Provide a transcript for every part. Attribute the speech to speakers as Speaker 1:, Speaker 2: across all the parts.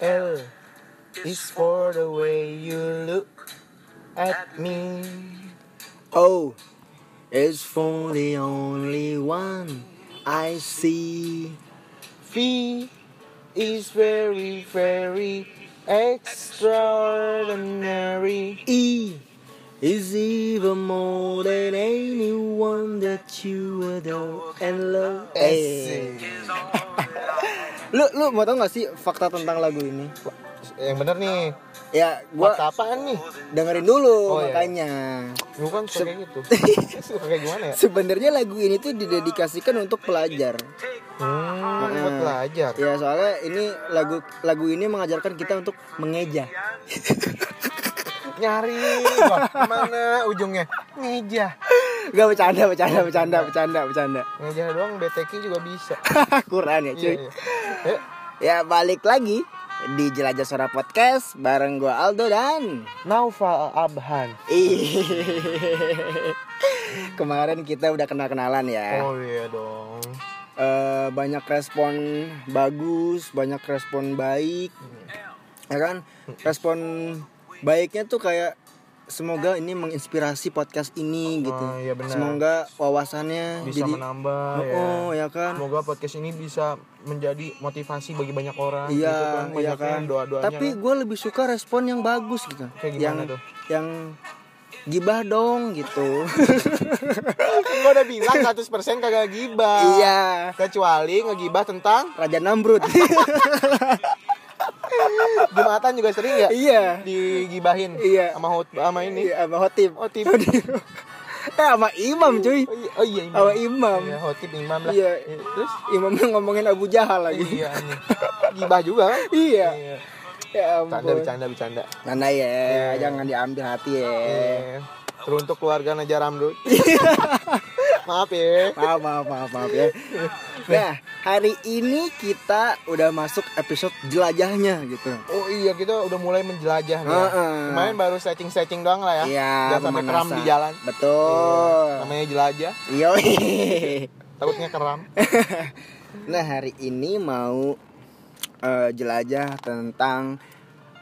Speaker 1: L is for the way you look at me. O is for the only one I see. V is very, very extraordinary. E is even more than anyone that you adore and love. Eh.
Speaker 2: Lu lu mau tau gak sih fakta tentang lagu ini?
Speaker 1: Yang bener nih,
Speaker 2: Ya,
Speaker 1: buat
Speaker 2: gua
Speaker 1: apaan nih?
Speaker 2: dengerin
Speaker 1: Oh,
Speaker 2: dulu
Speaker 1: iya.
Speaker 2: makanya.
Speaker 1: Lu kan suka kayak gitu. suka kayak gimana ya?
Speaker 2: Sebenarnya lagu ini tuh didedikasikan untuk pelajar.
Speaker 1: Hmm, buat belajar.
Speaker 2: Ya, soalnya ini lagu lagu ini mengajarkan kita untuk mengeja.
Speaker 1: Nyari Wah, mana ujungnya? Ngeja.
Speaker 2: Gak bercanda, bercanda, bercanda, bercanda, bercanda.
Speaker 1: Ngeja doang BTK juga bisa.
Speaker 2: Quran ya, cuy.
Speaker 1: Iya, iya. Eh,
Speaker 2: Ya, balik lagi di Jelajah Suara Podcast bareng gua Aldo dan
Speaker 1: Naufal Abhan.
Speaker 2: Ih. Kemarin kita udah kenal-kenalan ya.
Speaker 1: Oh iya dong.
Speaker 2: Eh, banyak respon bagus, banyak respon baik, ya kan? Respon baiknya tuh kayak semoga ini menginspirasi podcast ini gitu.
Speaker 1: Ah, iya benar.
Speaker 2: Semoga wawasannya
Speaker 1: Bisa
Speaker 2: jadi
Speaker 1: menambah
Speaker 2: oh,
Speaker 1: ya.
Speaker 2: oh, ya kan.
Speaker 1: Semoga podcast ini bisa menjadi motivasi bagi banyak orang
Speaker 2: Iya,
Speaker 1: gitu kan.
Speaker 2: iya
Speaker 1: Banyak
Speaker 2: kan.
Speaker 1: doa-doanya.
Speaker 2: Tapi
Speaker 1: kan.
Speaker 2: gue lebih suka respon yang bagus gitu.
Speaker 1: Kayak gimana
Speaker 2: yang
Speaker 1: tuh?
Speaker 2: yang gibah dong gitu.
Speaker 1: gue Kan udah bilang 100% kagak gibah.
Speaker 2: iya.
Speaker 1: Kecuali ngegibah tentang
Speaker 2: Raja Namrud.
Speaker 1: Jumatan juga sering ya
Speaker 2: iya.
Speaker 1: digibahin
Speaker 2: Iya.
Speaker 1: sama hot sama ini.
Speaker 2: Iya, sama Hotip.
Speaker 1: Hotip.
Speaker 2: Eh, sama Imam cuy.
Speaker 1: Oh iya, oh iya imam.
Speaker 2: Sama Imam.
Speaker 1: Iya, hotip imam lah.
Speaker 2: Iya.
Speaker 1: Terus
Speaker 2: Imamnya ngomongin Abu Jahal lagi.
Speaker 1: iya ini. Gibah juga kan?
Speaker 2: Iya. Ya
Speaker 1: Bercanda Iya.
Speaker 2: ampun.
Speaker 1: bercanda bercanda.
Speaker 2: Nana ya, jangan diambil hati ya.
Speaker 1: Eh, teruntuk keluarga Najar Amrut. Maaf ya.
Speaker 2: Maaf, maaf, maaf, maaf ya. Nah, hari ini kita udah masuk episode jelajahnya gitu.
Speaker 1: Oh iya kita udah mulai menjelajah nih. ya.
Speaker 2: Heeh.
Speaker 1: Kemarin baru setting setting doang lah ya.
Speaker 2: Iya,
Speaker 1: Jangan sampai
Speaker 2: pemanasan. Oh.
Speaker 1: keram di jalan.
Speaker 2: Betul.
Speaker 1: Namanya jelajah,
Speaker 2: Iya.
Speaker 1: takutnya keram.
Speaker 2: nah, hari ini mau eh, jelajah tentang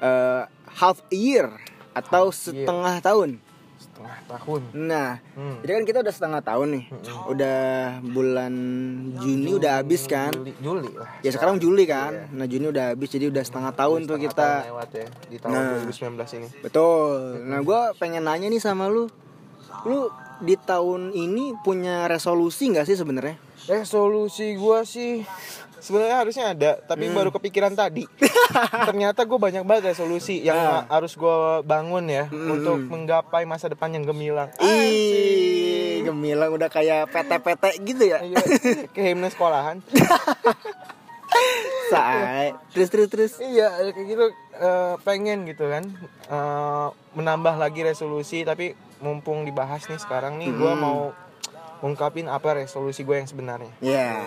Speaker 2: eh, half year atau setengah tahun.
Speaker 1: Setengah tahun.
Speaker 2: Nah,
Speaker 1: Hmm.
Speaker 2: jadi kan kita udah setengah tahun nih. Udah bulan Juni udah habis kan?
Speaker 1: Juli, Juli lah.
Speaker 2: Ya sekarang Juli kan. Nah, Juni udah habis jadi udah setengah tahun tuh
Speaker 1: Iya. Setengah
Speaker 2: kita.
Speaker 1: tahun lewat ya di tahun
Speaker 2: Nah.
Speaker 1: 2019 ini.
Speaker 2: Betul. Nah, gua pengen nanya nih sama lu. Lu di tahun ini punya resolusi nggak sih sebenarnya?
Speaker 1: Resolusi Eh, gua sih sebenarnya harusnya ada, tapi baru kepikiran tadi. Ternyata gue banyak banget resolusi yang harus gua bangun ya untuk menggapai masa depan yang gemilang.
Speaker 2: Ih, gemilang udah kayak PT-PT gitu ya.
Speaker 1: Iya, kayak himne sekolahan.
Speaker 2: Say. Terus terus terus.
Speaker 1: Iya, kayak gitu eh, pengen gitu kan eh, menambah lagi resolusi, tapi mumpung dibahas nih sekarang nih, gua mau ungkapin apa resolusi gue yang sebenarnya.
Speaker 2: Ya.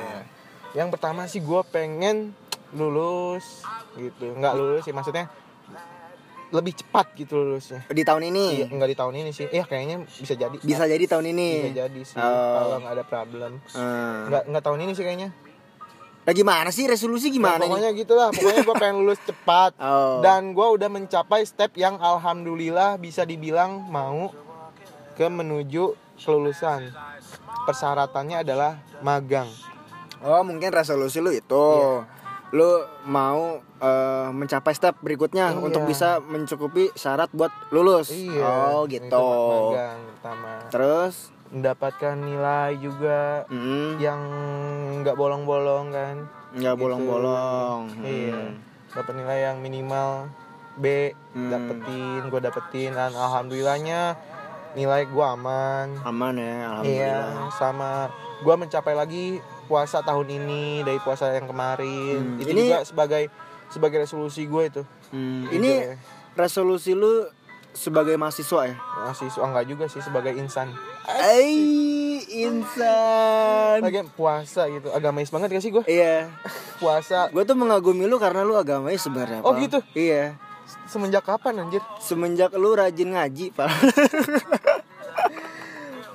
Speaker 1: yang pertama sih gue pengen lulus gitu nggak lulus sih maksudnya lebih cepat gitu lulusnya
Speaker 2: Di tahun ini.
Speaker 1: Iya, nggak di tahun ini sih ya kayaknya bisa jadi
Speaker 2: Bisa jadi tahun ini.
Speaker 1: bisa jadi sih
Speaker 2: Oh.
Speaker 1: kalau nggak ada problem
Speaker 2: Hmm.
Speaker 1: nggak nggak tahun ini sih kayaknya
Speaker 2: Nah, gimana sih resolusi
Speaker 1: Nah,
Speaker 2: gimana nih?
Speaker 1: pokoknya gitulah pokoknya gue pengen lulus cepat
Speaker 2: Oh.
Speaker 1: dan gue udah mencapai step yang alhamdulillah bisa dibilang mau ke menuju kelulusan persyaratannya adalah magang
Speaker 2: Oh, mungkin resolusi lu itu.
Speaker 1: Iya.
Speaker 2: Lu mau eh, mencapai step berikutnya
Speaker 1: Iya.
Speaker 2: untuk bisa mencukupi syarat buat lulus. oh,
Speaker 1: itu
Speaker 2: gitu.
Speaker 1: magang pertama
Speaker 2: Terus
Speaker 1: mendapatkan nilai juga
Speaker 2: mm,
Speaker 1: yang nggak bolong-bolong kan Ya,
Speaker 2: nggak
Speaker 1: Gitu.
Speaker 2: bolong-bolong.
Speaker 1: iya
Speaker 2: Hmm.
Speaker 1: dapat nilai yang minimal B
Speaker 2: Hmm.
Speaker 1: dapetin gue dapetin dan alhamdulillahnya nilai gue aman
Speaker 2: Aman ya, alhamdulillah.
Speaker 1: iya sama gue mencapai lagi puasa tahun ini dari puasa yang kemarin
Speaker 2: Hmm.
Speaker 1: itu
Speaker 2: Ini-
Speaker 1: juga sebagai sebagai resolusi gue itu
Speaker 2: Hmm,
Speaker 1: Jujur
Speaker 2: Ini
Speaker 1: ya.
Speaker 2: resolusi lu sebagai mahasiswa ya?
Speaker 1: masih su- enggak juga sih sebagai insan
Speaker 2: Ai, insan.
Speaker 1: lagi puasa gitu agamais banget gak sih gue
Speaker 2: Iya,
Speaker 1: puasa
Speaker 2: gue tuh mengagumi lu karena lu agamanya sebenarnya.
Speaker 1: Oh,
Speaker 2: Pal.
Speaker 1: gitu?
Speaker 2: Iya,
Speaker 1: semenjak kapan anjir
Speaker 2: semenjak lu rajin ngaji, pak.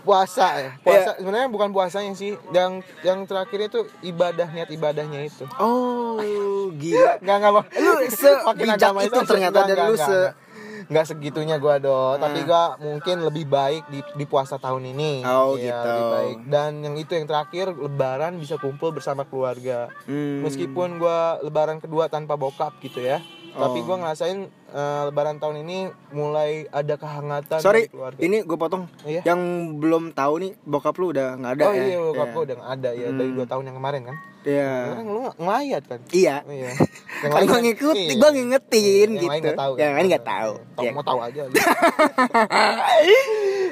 Speaker 1: puasa
Speaker 2: Iya.
Speaker 1: ya puasa sebenarnya bukan puasanya sih yang yang terakhirnya itu ibadah niat ibadahnya itu
Speaker 2: Oh, gila.
Speaker 1: nggak nggak bang
Speaker 2: Lu
Speaker 1: Makin
Speaker 2: sebijak
Speaker 1: agama
Speaker 2: itu ternyata
Speaker 1: enggak,
Speaker 2: dan
Speaker 1: enggak,
Speaker 2: lu
Speaker 1: enggak,
Speaker 2: se- Ah.
Speaker 1: enggak. Enggak segitunya gua do tapi gua mungkin lebih baik di, di puasa tahun ini
Speaker 2: Oh,
Speaker 1: Iya,
Speaker 2: gitu.
Speaker 1: lebih baik dan yang itu yang terakhir lebaran bisa kumpul bersama keluarga
Speaker 2: Hmm.
Speaker 1: meskipun gua lebaran kedua tanpa bokap gitu ya tapi
Speaker 2: Oh.
Speaker 1: gua ngerasain eh, lebaran tahun ini mulai ada kehangatan dari
Speaker 2: Sorry,
Speaker 1: keluarga
Speaker 2: ini gue potong.
Speaker 1: Iya.
Speaker 2: Yang belum tahu nih bokap lu udah nggak ada
Speaker 1: oh
Speaker 2: ya.
Speaker 1: iya bokap
Speaker 2: Iya.
Speaker 1: gua udah nggak ada ya dari dua tahun yang kemarin kan
Speaker 2: Iya.
Speaker 1: Karena lu ngelayat kan
Speaker 2: Iya.
Speaker 1: iya
Speaker 2: Kan gua ngikut,
Speaker 1: iya.
Speaker 2: gua ngingetin
Speaker 1: yang
Speaker 2: gitu.
Speaker 1: lain nggak tahu
Speaker 2: Yang lain nggak tahu.
Speaker 1: Tahu-
Speaker 2: Iya.
Speaker 1: mau tahu aja gitu.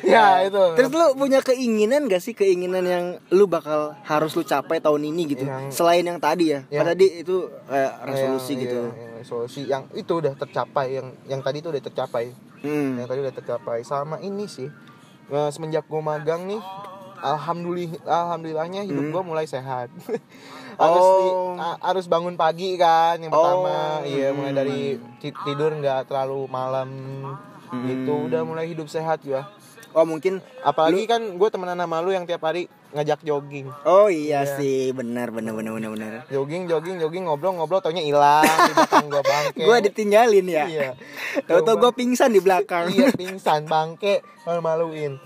Speaker 1: ya itu
Speaker 2: Terus lu punya keinginan gak sih keinginan yang lu bakal harus lu capai tahun ini gitu?
Speaker 1: Yang-
Speaker 2: Selain yang tadi ya.
Speaker 1: Yang-
Speaker 2: Kan tadi itu kayak resolusi
Speaker 1: Yang-
Speaker 2: gitu.
Speaker 1: iya, yang resolusi yang itu udah tercapai yang yang tadi itu udah tercapai
Speaker 2: Hmm.
Speaker 1: yang tadi udah tercapai sama ini sih Nah, semenjak gue magang nih Alhamdulillah, alhamdulillahnya hidup gue mulai sehat. harus di-
Speaker 2: Hmm. Oh.
Speaker 1: a- harus bangun pagi kan yang
Speaker 2: Oh.
Speaker 1: pertama, iya mulai dari ti- tidur nggak terlalu malam
Speaker 2: Hmm.
Speaker 1: gitu, udah mulai hidup sehat gua.
Speaker 2: Oh, mungkin
Speaker 1: Apalagi kan gue temenan sama lu yang tiap hari ngajak jogging.
Speaker 2: Oh iya sih, benar benar benar benar benar.
Speaker 1: Jogging, jogging, jogging, ngobrol, ngobrol, taunya hilang di belakang gue bangke.
Speaker 2: Gua ditinggalin ya.
Speaker 1: Iya.
Speaker 2: Tahu-tahu gua pingsan di belakang.
Speaker 1: Iya, pingsan, bangke, malu-maluin.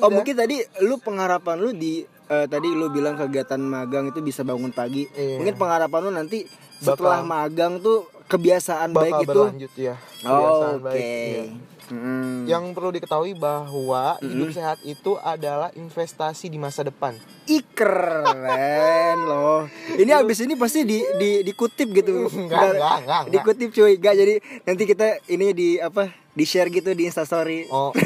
Speaker 2: Oh mungkin tadi lu pengharapan lu di eh, tadi lu bilang kegiatan magang itu bisa bangun pagi.
Speaker 1: Iya.
Speaker 2: Mungkin pengharapan lu nanti setelah magang tuh kebiasaan
Speaker 1: Bakal
Speaker 2: baik itu.
Speaker 1: berlanjut ya.
Speaker 2: Oh,
Speaker 1: Kebiasaan
Speaker 2: Oke.
Speaker 1: baik, iya.
Speaker 2: Mm.
Speaker 1: Yang perlu diketahui bahwa hidup sehat itu adalah investasi di masa depan.
Speaker 2: Ih, keren loh. Ini abis ini pasti di, di dikutip gitu.
Speaker 1: Enggak, enggak, enggak, enggak.
Speaker 2: Dikutip cuy. Enggak jadi nanti kita ini di apa? Di share gitu di Instastory
Speaker 1: Oh.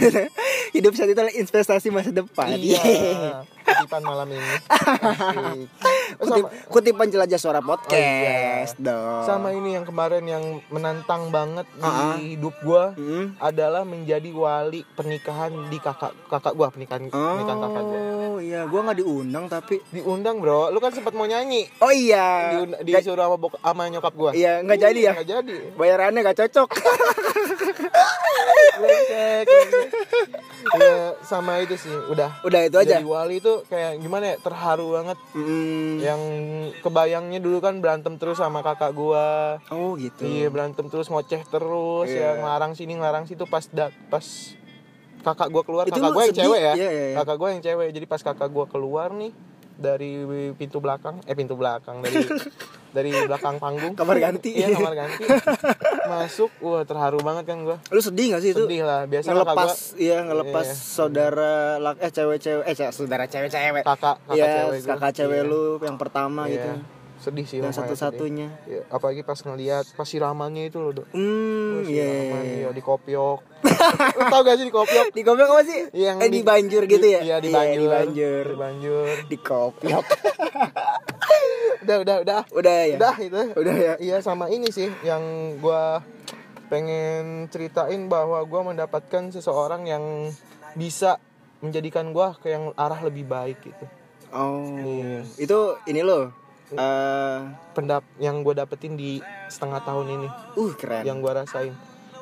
Speaker 2: Hidup saat itu adalah investasi masa depan.
Speaker 1: Iya. Kutipan malam ini. Asik.
Speaker 2: Kutip, kutipan jelajah
Speaker 1: Oh, iya.
Speaker 2: suara podcast dong.
Speaker 1: Sama ini yang kemarin yang menantang banget di
Speaker 2: Ah, ah.
Speaker 1: hidup gua
Speaker 2: Mm.
Speaker 1: adalah menjadi wali pernikahan di kakak kakak gua pernikahan pernikahan kakak gua.
Speaker 2: Oh iya, gua nggak diundang tapi
Speaker 1: Diundang, Bro. Lu kan sempat mau nyanyi.
Speaker 2: Oh iya.
Speaker 1: Diund- disuruh sama, bok- sama nyokap gua.
Speaker 2: Iya, nggak jadi ya.
Speaker 1: Nggak jadi.
Speaker 2: Bayarannya nggak cocok.
Speaker 1: Brengsek, brengsek. Ya, Iya, sama itu sih, udah.
Speaker 2: Udah itu aja.
Speaker 1: Jadi wali itu kayak gimana ya, terharu banget.
Speaker 2: Mm.
Speaker 1: Yang kebayangnya dulu kan berantem terus sama kakak gua.
Speaker 2: Oh gitu.
Speaker 1: Iya berantem terus ngoceh terus ya
Speaker 2: Iya.
Speaker 1: ngelarang sini ngelarang situ pas da- pas kakak gua keluar
Speaker 2: Itu
Speaker 1: kakak
Speaker 2: lu
Speaker 1: gua yang
Speaker 2: sedih,
Speaker 1: cewek ya.
Speaker 2: iya, iya, iya.
Speaker 1: Kakak gua yang cewek. Jadi pas kakak gua keluar nih dari pintu belakang eh pintu belakang dari dari belakang panggung
Speaker 2: Kamar ganti.
Speaker 1: iya kamar ganti masuk wah terharu banget kan gua
Speaker 2: Lu sedih gak sih itu?
Speaker 1: sedih lah biasa kakak
Speaker 2: ngelepas
Speaker 1: gua
Speaker 2: iya ngelepas
Speaker 1: Iya.
Speaker 2: saudara lak eh cewek-cewek eh ce- saudara cewek-cewek.
Speaker 1: kakak kakak
Speaker 2: Iya,
Speaker 1: cewek gua.
Speaker 2: kakak cewek
Speaker 1: Iya,
Speaker 2: lu yang pertama
Speaker 1: iya.
Speaker 2: gitu.
Speaker 1: sedih sih lumayan
Speaker 2: Yang
Speaker 1: sedih.
Speaker 2: satu-satunya.
Speaker 1: Iya, apalagi pas ngelihat pas siramannya itu loh Dok.
Speaker 2: Hmm, iya.
Speaker 1: Siraman, iya, di kopiok lu tau gak sih di kopiok
Speaker 2: Hmm. Di kopiok apa sih?
Speaker 1: Iya, Yang
Speaker 2: eh, di, banjur gitu ya?
Speaker 1: Iya, di banjur.
Speaker 2: di banjur.
Speaker 1: Di banjur.
Speaker 2: Di kopiok.
Speaker 1: Udah, udah, udah.
Speaker 2: Udah ya.
Speaker 1: Udah itu.
Speaker 2: Udah ya.
Speaker 1: Iya, sama ini sih yang gua pengen ceritain bahwa gua mendapatkan seseorang yang bisa menjadikan gua ke yang arah lebih baik gitu.
Speaker 2: Oh.
Speaker 1: Iya.
Speaker 2: Itu ini loh. Eh,
Speaker 1: Pendap yang gua dapetin di setengah tahun ini
Speaker 2: uh keren.
Speaker 1: yang gua rasain.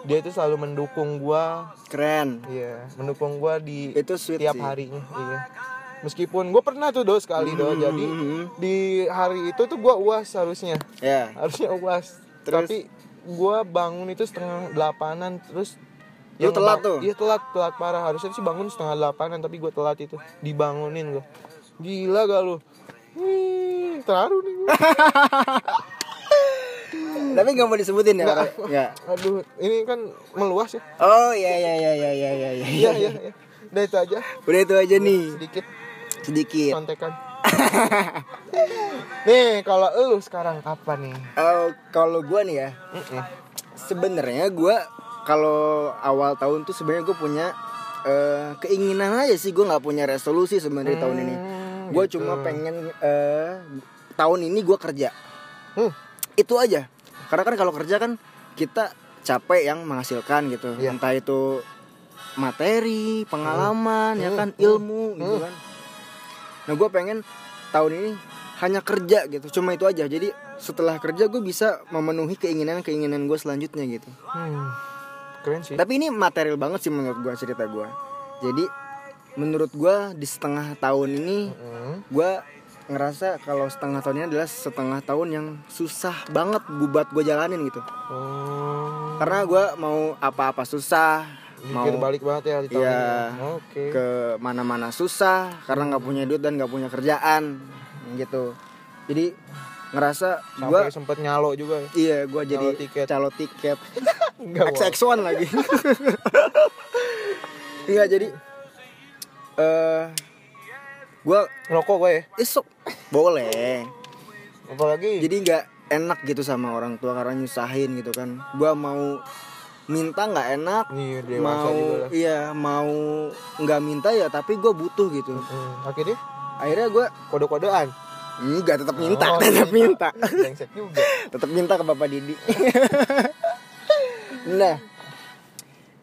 Speaker 1: Dia itu selalu mendukung gua,
Speaker 2: Keren.
Speaker 1: iya, mendukung gua di
Speaker 2: Itu sweet
Speaker 1: tiap
Speaker 2: sih.
Speaker 1: harinya, iya. Meskipun gue pernah tuh do sekali do, jadi
Speaker 2: mhm.
Speaker 1: di hari itu tuh gua uas harusnya.
Speaker 2: Ya.
Speaker 1: harusnya uas
Speaker 2: Terus?
Speaker 1: tapi gua bangun itu setengah delapanan terus
Speaker 2: Lu telat tuh?
Speaker 1: iya telat telat parah harusnya sih bangun setengah delapanan tapi gua telat itu dibangunin gua gila gak lu Wih, terharu nih gua.
Speaker 2: Tapi gak mau disebutin ya? orang? Nggak.
Speaker 1: aduh ini kan meluas ya
Speaker 2: Oh iya iya iya iya iya iya.
Speaker 1: iya iya iya udah itu aja
Speaker 2: Udah itu aja nih.
Speaker 1: sedikit
Speaker 2: Sedikit.
Speaker 1: contekan nih kalau lu sekarang apa nih
Speaker 2: Oh, kalau gua nih ya,
Speaker 1: Mm-mm.
Speaker 2: sebenarnya gua kalau awal tahun tuh sebenarnya gue punya eh, keinginan aja sih gue nggak punya resolusi sebenarnya tahun ini gue
Speaker 1: Hmm, gitu.
Speaker 2: cuma pengen eh, tahun ini gue kerja
Speaker 1: Hmm.
Speaker 2: itu aja karena kan kalau kerja kan kita capek yang menghasilkan gitu
Speaker 1: Iya.
Speaker 2: entah itu materi pengalaman ya kan ilmu gitu kan nah gue pengen tahun ini hanya kerja gitu cuma itu aja jadi setelah kerja gue bisa memenuhi keinginan keinginan gue selanjutnya gitu
Speaker 1: Hmm. keren sih
Speaker 2: tapi ini material banget sih menurut gua cerita gua. Jadi menurut gua di setengah tahun ini
Speaker 1: Mm.
Speaker 2: gua ngerasa kalau setengah tahunnya adalah setengah tahun yang susah banget bu- buat gue jalanin gitu
Speaker 1: Oh.
Speaker 2: karena gua mau apa-apa susah mau
Speaker 1: Mikir balik banget ya di tahun
Speaker 2: Iya.
Speaker 1: ini. Oke.
Speaker 2: ke mana-mana susah karena nggak punya duit dan nggak punya kerjaan gitu jadi ngerasa
Speaker 1: Sampai
Speaker 2: gua
Speaker 1: sempet nyalo juga ya.
Speaker 2: iya gua jadi
Speaker 1: tiket.
Speaker 2: calo tiket
Speaker 1: Enggak. Wak.
Speaker 2: XX1 lagi Iya jadi eh gua
Speaker 1: Rokok gue ya.
Speaker 2: esok boleh
Speaker 1: Apalagi
Speaker 2: jadi nggak enak gitu sama orang tua karena nyusahin gitu kan gua mau minta nggak enak
Speaker 1: Iya, dewasa
Speaker 2: mau
Speaker 1: juga lah.
Speaker 2: iya mau nggak minta ya tapi gue butuh gitu
Speaker 1: Hmm, akhirnya
Speaker 2: akhirnya gue
Speaker 1: kode-kodean.
Speaker 2: Enggak tetap minta,
Speaker 1: Oh,
Speaker 2: tetap minta,
Speaker 1: Brengsek juga.
Speaker 2: tetap minta ke Bapak Didi. nah,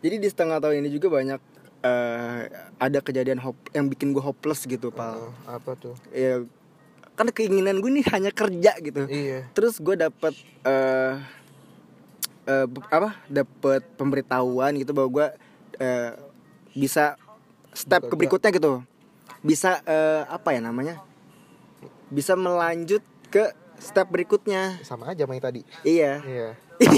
Speaker 2: jadi di setengah tahun ini juga banyak eh, ada kejadian hop yang bikin gue hopeless gitu, pal.
Speaker 1: Oh, apa tuh?
Speaker 2: Ya, kan keinginan gue nih hanya kerja gitu.
Speaker 1: Iya.
Speaker 2: Terus gue dapet eh, eh, be- apa? Dapet pemberitahuan gitu bahwa gue eh, bisa step ke berikutnya gitu. Bisa eh, apa ya namanya? Bisa melanjut ke step berikutnya.
Speaker 1: Sama aja main tadi.
Speaker 2: Iya.
Speaker 1: Iya.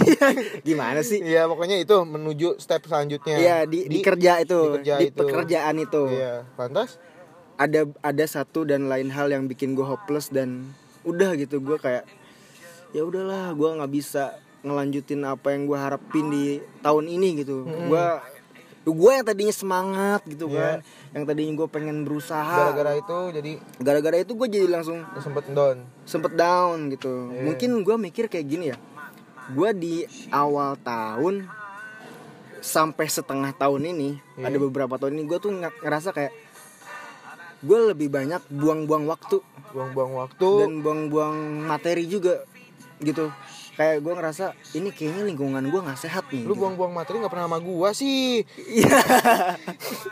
Speaker 2: Gimana sih?
Speaker 1: Iya, pokoknya itu menuju step selanjutnya.
Speaker 2: Iya di, di kerja
Speaker 1: di
Speaker 2: itu, di,
Speaker 1: kerja itu.
Speaker 2: pekerjaan itu.
Speaker 1: Iya, lantas
Speaker 2: Ada ada satu dan lain hal yang bikin gue hopeless dan udah gitu gue kayak ya udahlah gue nggak bisa ngelanjutin apa yang gue harapin di tahun ini gitu. Gua Gue yang tadinya semangat gitu kan, yang tadinya gue pengen berusaha.
Speaker 1: gara-gara itu jadi
Speaker 2: Gara-gara itu gue jadi langsung
Speaker 1: sempet down.
Speaker 2: sempet down gitu.
Speaker 1: Iya.
Speaker 2: Mungkin gue mikir kayak gini ya. Gue di awal tahun sampai setengah tahun ini
Speaker 1: Iya.
Speaker 2: ada beberapa tahun ini gue tuh nge- ngerasa kayak gue lebih banyak buang-buang waktu
Speaker 1: Buang-buang waktu.
Speaker 2: dan buang-buang materi juga gitu. Kayak gue ngerasa ini kayaknya lingkungan gue nggak sehat nih.
Speaker 1: Lu
Speaker 2: gitu.
Speaker 1: buang-buang materi nggak pernah sama gua sih.
Speaker 2: Iya.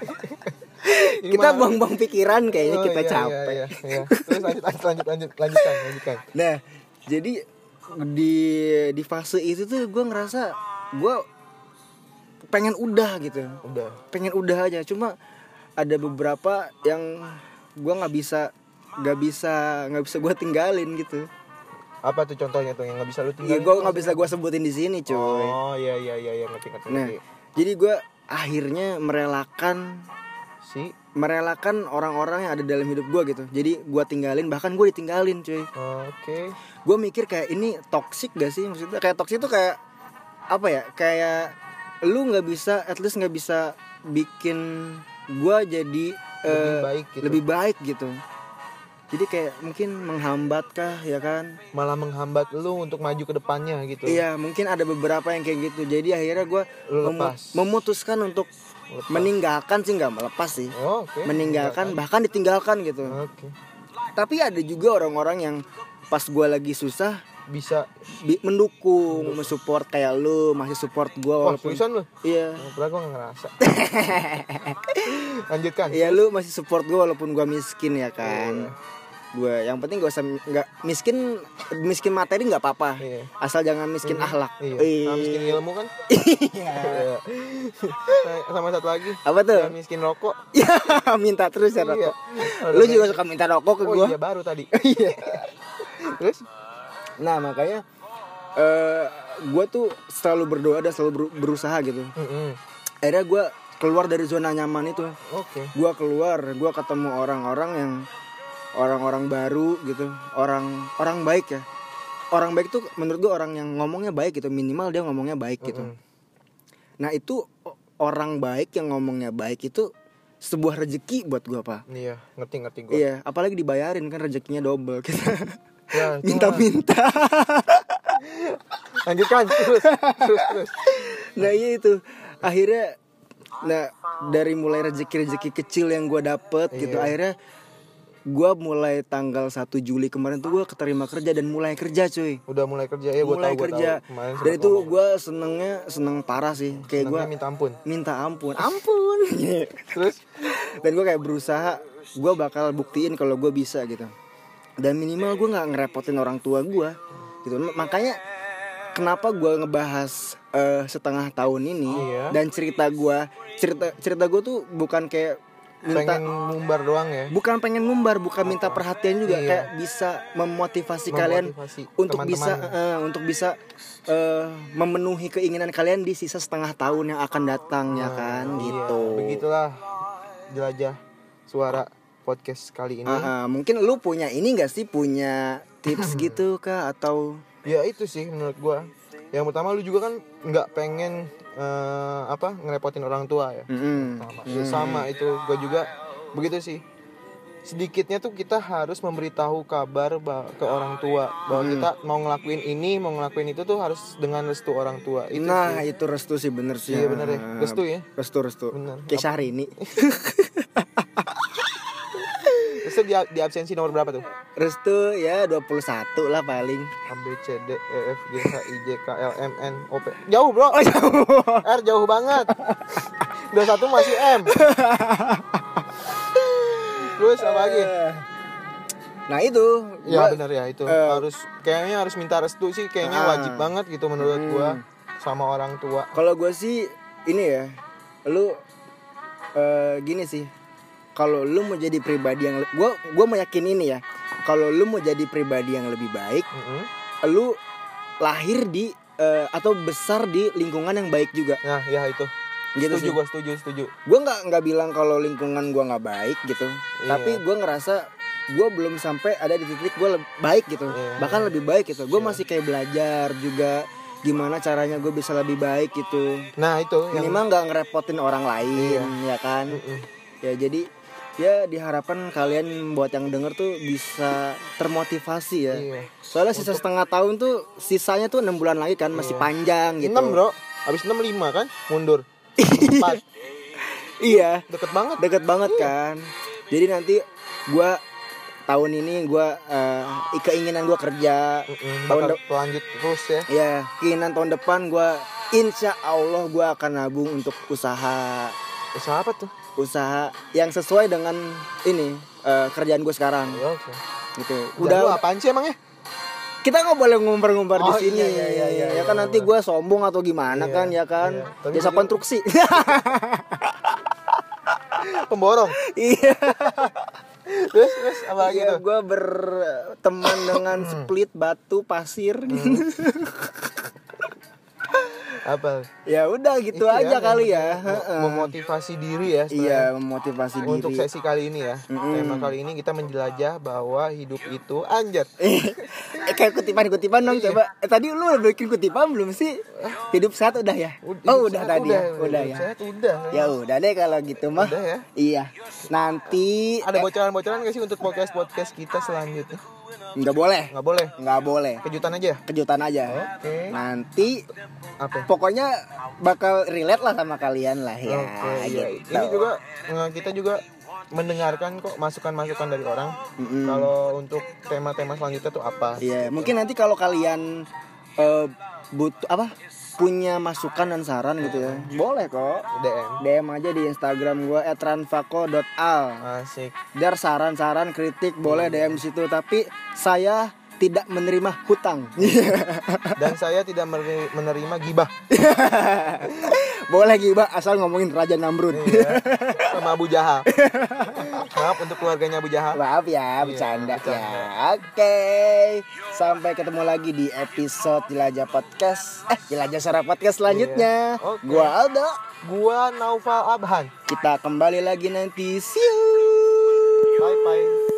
Speaker 1: Ini
Speaker 2: kita
Speaker 1: mah-
Speaker 2: buang-buang pikiran kayaknya
Speaker 1: Oh,
Speaker 2: kita
Speaker 1: iya, iya,
Speaker 2: capek.
Speaker 1: iya, iya. Terus lanjut lanjut lanjut lanjut lanjutkan lanjutkan.
Speaker 2: Nah, jadi di di fase itu tuh gue ngerasa gue pengen udah gitu,
Speaker 1: Udah.
Speaker 2: pengen udah aja. Cuma ada beberapa yang gue nggak bisa nggak bisa nggak bisa gue tinggalin gitu.
Speaker 1: Apa tuh contohnya tuh yang nggak bisa lu
Speaker 2: Ya
Speaker 1: tinggalin?
Speaker 2: gue nggak bisa gue sebutin di sini cuy.
Speaker 1: Oh iya iya iya iya ngerti ngerti.
Speaker 2: nah,
Speaker 1: ngerti.
Speaker 2: jadi gue akhirnya merelakan
Speaker 1: Si
Speaker 2: merelakan orang-orang yang ada dalam hidup gue gitu. Jadi gue tinggalin bahkan gue ditinggalin cuy.
Speaker 1: oke.
Speaker 2: gue mikir kayak ini toxic gak sih maksudnya kayak toxic itu kayak apa ya kayak lu nggak bisa at least nggak bisa bikin gue jadi
Speaker 1: Lebih
Speaker 2: eh,
Speaker 1: baik gitu.
Speaker 2: lebih baik gitu jadi kayak mungkin menghambat kah ya kan
Speaker 1: Malah menghambat lu untuk maju ke depannya gitu.
Speaker 2: iya mungkin ada beberapa yang kayak gitu jadi akhirnya gue
Speaker 1: Lu lepas.
Speaker 2: memutuskan untuk
Speaker 1: Lepas.
Speaker 2: meninggalkan sih nggak melepas sih
Speaker 1: Oh, oke.
Speaker 2: meninggalkan bahkan ditinggalkan gitu
Speaker 1: Oke.
Speaker 2: tapi ada juga orang-orang yang pas gue lagi susah
Speaker 1: Bisa.
Speaker 2: Bi- mendukung, mensupport kayak lu masih support gua
Speaker 1: Wah,
Speaker 2: walaupun
Speaker 1: tulisan lu.
Speaker 2: iya
Speaker 1: Padahal gua nggak ngerasa. lanjutkan.
Speaker 2: iya lu masih support gua walaupun gua miskin
Speaker 1: Iya.
Speaker 2: ya kan gua yang penting gak usah nggak miskin miskin materi nggak apa-apa
Speaker 1: Iya.
Speaker 2: asal jangan miskin akhlak
Speaker 1: Iya.
Speaker 2: Iya.
Speaker 1: Nah, miskin ilmu kan. Iya. Nah, Sama satu lagi.
Speaker 2: apa tuh
Speaker 1: Nah, miskin rokok.
Speaker 2: ya minta terus ya rokok
Speaker 1: Iya.
Speaker 2: lu juga suka minta rokok ke
Speaker 1: Oh
Speaker 2: gua
Speaker 1: iya baru tadi.
Speaker 2: iya
Speaker 1: Terus?
Speaker 2: nah makanya eh gua tuh selalu berdoa dan selalu beru- berusaha gitu
Speaker 1: Mm-mm.
Speaker 2: akhirnya gua keluar dari zona nyaman itu
Speaker 1: Oke.
Speaker 2: gue keluar gue ketemu orang-orang yang orang-orang baru gitu orang orang baik ya orang baik tuh menurut gue orang yang ngomongnya baik gitu minimal dia ngomongnya baik gitu
Speaker 1: Mm-mm.
Speaker 2: nah itu o- orang baik yang ngomongnya baik itu sebuah rezeki buat gue pak
Speaker 1: Iya, ngerti ngerti gue.
Speaker 2: iya apalagi dibayarin kan rezekinya double kita
Speaker 1: Ya, itu mah.
Speaker 2: minta-minta
Speaker 1: Lanjutkan terus terus terus.
Speaker 2: nah iya itu akhirnya nah dari mulai rezeki-rezeki kecil yang gue dapet
Speaker 1: Iya.
Speaker 2: gitu akhirnya gue mulai tanggal 1 Juli kemarin tuh gue keterima kerja dan mulai kerja cuy
Speaker 1: Udah mulai kerja ya gue tahu
Speaker 2: mulai
Speaker 1: gua
Speaker 2: kerja
Speaker 1: tahu. Kemarin
Speaker 2: dan
Speaker 1: sempat
Speaker 2: itu
Speaker 1: ngomong.
Speaker 2: gue senengnya seneng parah sih kayak gue
Speaker 1: Senangnya minta ampun.
Speaker 2: minta ampun ampun
Speaker 1: Terus
Speaker 2: dan gue kayak berusaha gue bakal buktiin kalau gue bisa gitu dan minimal gue nggak ngerepotin orang tua gue gitu M- makanya kenapa gue ngebahas eh, setengah tahun ini
Speaker 1: Iya.
Speaker 2: dan cerita gue cerita cerita gue tuh bukan kayak minta
Speaker 1: pengen ngumbar doang ya
Speaker 2: bukan pengen ngumbar bukan minta perhatian juga
Speaker 1: Iya.
Speaker 2: kayak bisa memotivasi, kalian
Speaker 1: Memotivasi
Speaker 2: untuk
Speaker 1: teman-teman.
Speaker 2: bisa eh, untuk bisa eh, memenuhi keinginan kalian di sisa setengah tahun yang akan datang ya
Speaker 1: Iya,
Speaker 2: kan gitu
Speaker 1: begitulah jelajah suara podcast kali ini
Speaker 2: Ah, ah, mungkin lu punya ini gak sih punya
Speaker 1: Hmm.
Speaker 2: tips gitu kah atau
Speaker 1: ya itu sih menurut gua yang pertama lu juga kan nggak pengen eh, apa ngerepotin orang tua ya
Speaker 2: Mm-mm.
Speaker 1: sama, Ya, sama itu gua juga begitu sih sedikitnya tuh kita harus memberitahu kabar ba- ke orang tua bahwa kita mau ngelakuin ini mau ngelakuin itu tuh harus dengan restu orang tua itu
Speaker 2: nah itu restu sih bener sih
Speaker 1: Iya, bener ya. Restu ya.
Speaker 2: restu restu
Speaker 1: Bener.
Speaker 2: kayak Syahrini
Speaker 1: Terus tuh di, di absensi nomor berapa tuh
Speaker 2: restu ya 21 lah paling
Speaker 1: A B C D E F G H I J K L M N O P jauh bro
Speaker 2: Oh,
Speaker 1: jauh R jauh banget 21 masih M terus apa lagi
Speaker 2: nah itu
Speaker 1: ya
Speaker 2: Eh, gua- eh,
Speaker 1: benar ya itu harus kayaknya harus minta restu sih kayaknya
Speaker 2: Ah. Hmm.
Speaker 1: wajib banget gitu menurut gua sama orang tua
Speaker 2: Kalau gue sih ini ya, lu eh, gini sih. Kalau lu mau jadi pribadi yang gue gue meyakini ini ya. Kalau lu mau jadi pribadi yang lebih baik,
Speaker 1: Mm-mm.
Speaker 2: lu lahir di eh, atau besar di lingkungan yang baik juga.
Speaker 1: nah ya itu
Speaker 2: Gitu
Speaker 1: setuju
Speaker 2: sih.
Speaker 1: gua setuju setuju
Speaker 2: Gue nggak nggak bilang kalau lingkungan gue nggak baik gitu.
Speaker 1: Iya.
Speaker 2: Tapi gue ngerasa gue belum sampai ada di titik gue baik gitu.
Speaker 1: Iya.
Speaker 2: Bahkan lebih baik gitu. Gue masih kayak belajar juga gimana caranya gue bisa lebih baik gitu
Speaker 1: nah itu yang
Speaker 2: minimal nggak ngerepotin orang lain ya kan
Speaker 1: Iya. Mm-mm.
Speaker 2: ya jadi ya diharapkan kalian buat yang denger tuh bisa termotivasi ya
Speaker 1: Iya.
Speaker 2: soalnya sisa setengah tahun tuh sisanya tuh enam bulan lagi kan masih panjang gitu
Speaker 1: Iya. enam bro habis enam lima kan mundur empat
Speaker 2: iya
Speaker 1: deket banget
Speaker 2: deket banget kan jadi nanti gua tahun ini gua eh, keinginan gua kerja
Speaker 1: Mm-mm.
Speaker 2: tahun
Speaker 1: bakal
Speaker 2: de-
Speaker 1: lanjut terus ya
Speaker 2: ya keinginan tahun depan gua insya Allah gua akan nabung untuk usaha
Speaker 1: Eh, siapa tuh
Speaker 2: usaha yang sesuai dengan ini eh, kerjaan gue sekarang
Speaker 1: ya oke
Speaker 2: gitu
Speaker 1: udah lu
Speaker 2: udah
Speaker 1: apaan sih emangnya
Speaker 2: kita nggak boleh ngumbar-ngumbar
Speaker 1: Oh,
Speaker 2: di sini
Speaker 1: iya, iya, iya, iya,
Speaker 2: ya kan
Speaker 1: iya,
Speaker 2: nanti
Speaker 1: iya.
Speaker 2: gue sombong atau gimana
Speaker 1: Iya,
Speaker 2: kan ya kan
Speaker 1: iya. Tapi
Speaker 2: jasa
Speaker 1: mungkin-
Speaker 2: konstruksi
Speaker 1: pemborong
Speaker 2: iya
Speaker 1: terus terus apa gitu? Hmm. lagi tuh
Speaker 2: gue berteman dengan split batu pasir gitu.
Speaker 1: Hmm. apa
Speaker 2: ya udah gitu aja kali ya Heeh.
Speaker 1: Mem- memotivasi diri ya sebenarnya.
Speaker 2: iya memotivasi
Speaker 1: Untuk
Speaker 2: diri
Speaker 1: sesi kali ini ya, tema kali ini kita menjelajah bahwa hidup itu anjir.
Speaker 2: eh, kayak kutipan-kutipan dong
Speaker 1: Iya.
Speaker 2: coba eh, tadi lu udah bikin kutipan belum sih
Speaker 1: Ah.
Speaker 2: hidup sehat udah ya oh udah tadi ya udah ya
Speaker 1: Saya udah.
Speaker 2: Ya udah deh kalau gitu mah.
Speaker 1: Udah ya.
Speaker 2: Iya. Nanti
Speaker 1: Ada bocoran-bocoran gak sih untuk podcast-podcast kita selanjutnya?
Speaker 2: nggak boleh.
Speaker 1: Nggak boleh.
Speaker 2: Nggak boleh.
Speaker 1: Kejutan aja ya?
Speaker 2: Kejutan aja.
Speaker 1: Oke.
Speaker 2: Nanti
Speaker 1: Apa?
Speaker 2: pokoknya bakal relate lah sama kalian lah ya.
Speaker 1: Oke, iya.
Speaker 2: gitu.
Speaker 1: Ini juga eh, kita juga mendengarkan kok masukan-masukan dari orang.
Speaker 2: Mm-mm.
Speaker 1: Kalau untuk tema-tema selanjutnya tuh apa?
Speaker 2: Iya, mungkin nanti kalau kalian eh, butuh apa? punya masukan dan saran gitu ya. Boleh kok.
Speaker 1: DM.
Speaker 2: DM aja di Instagram gua @ranfako.al.
Speaker 1: Asik.
Speaker 2: Dar saran-saran kritik boleh DM di situ tapi saya tidak menerima hutang.
Speaker 1: Dan saya tidak meri- menerima gibah
Speaker 2: Boleh gibah asal ngomongin Raja Namrud.
Speaker 1: Iya. sama Abu Jahal. Maaf untuk keluarganya Abu Jahal.
Speaker 2: Maaf ya, bercanda,
Speaker 1: Iya, bercanda.
Speaker 2: ya. Oke. Sampai ketemu lagi di episode Jelajah Podcast. Eh, Jelajah Suara Podcast selanjutnya.
Speaker 1: Iya, oke.
Speaker 2: Gua Aldo.
Speaker 1: Gua Naufal Abhan.
Speaker 2: Kita kembali lagi nanti. See you.
Speaker 1: Bye bye.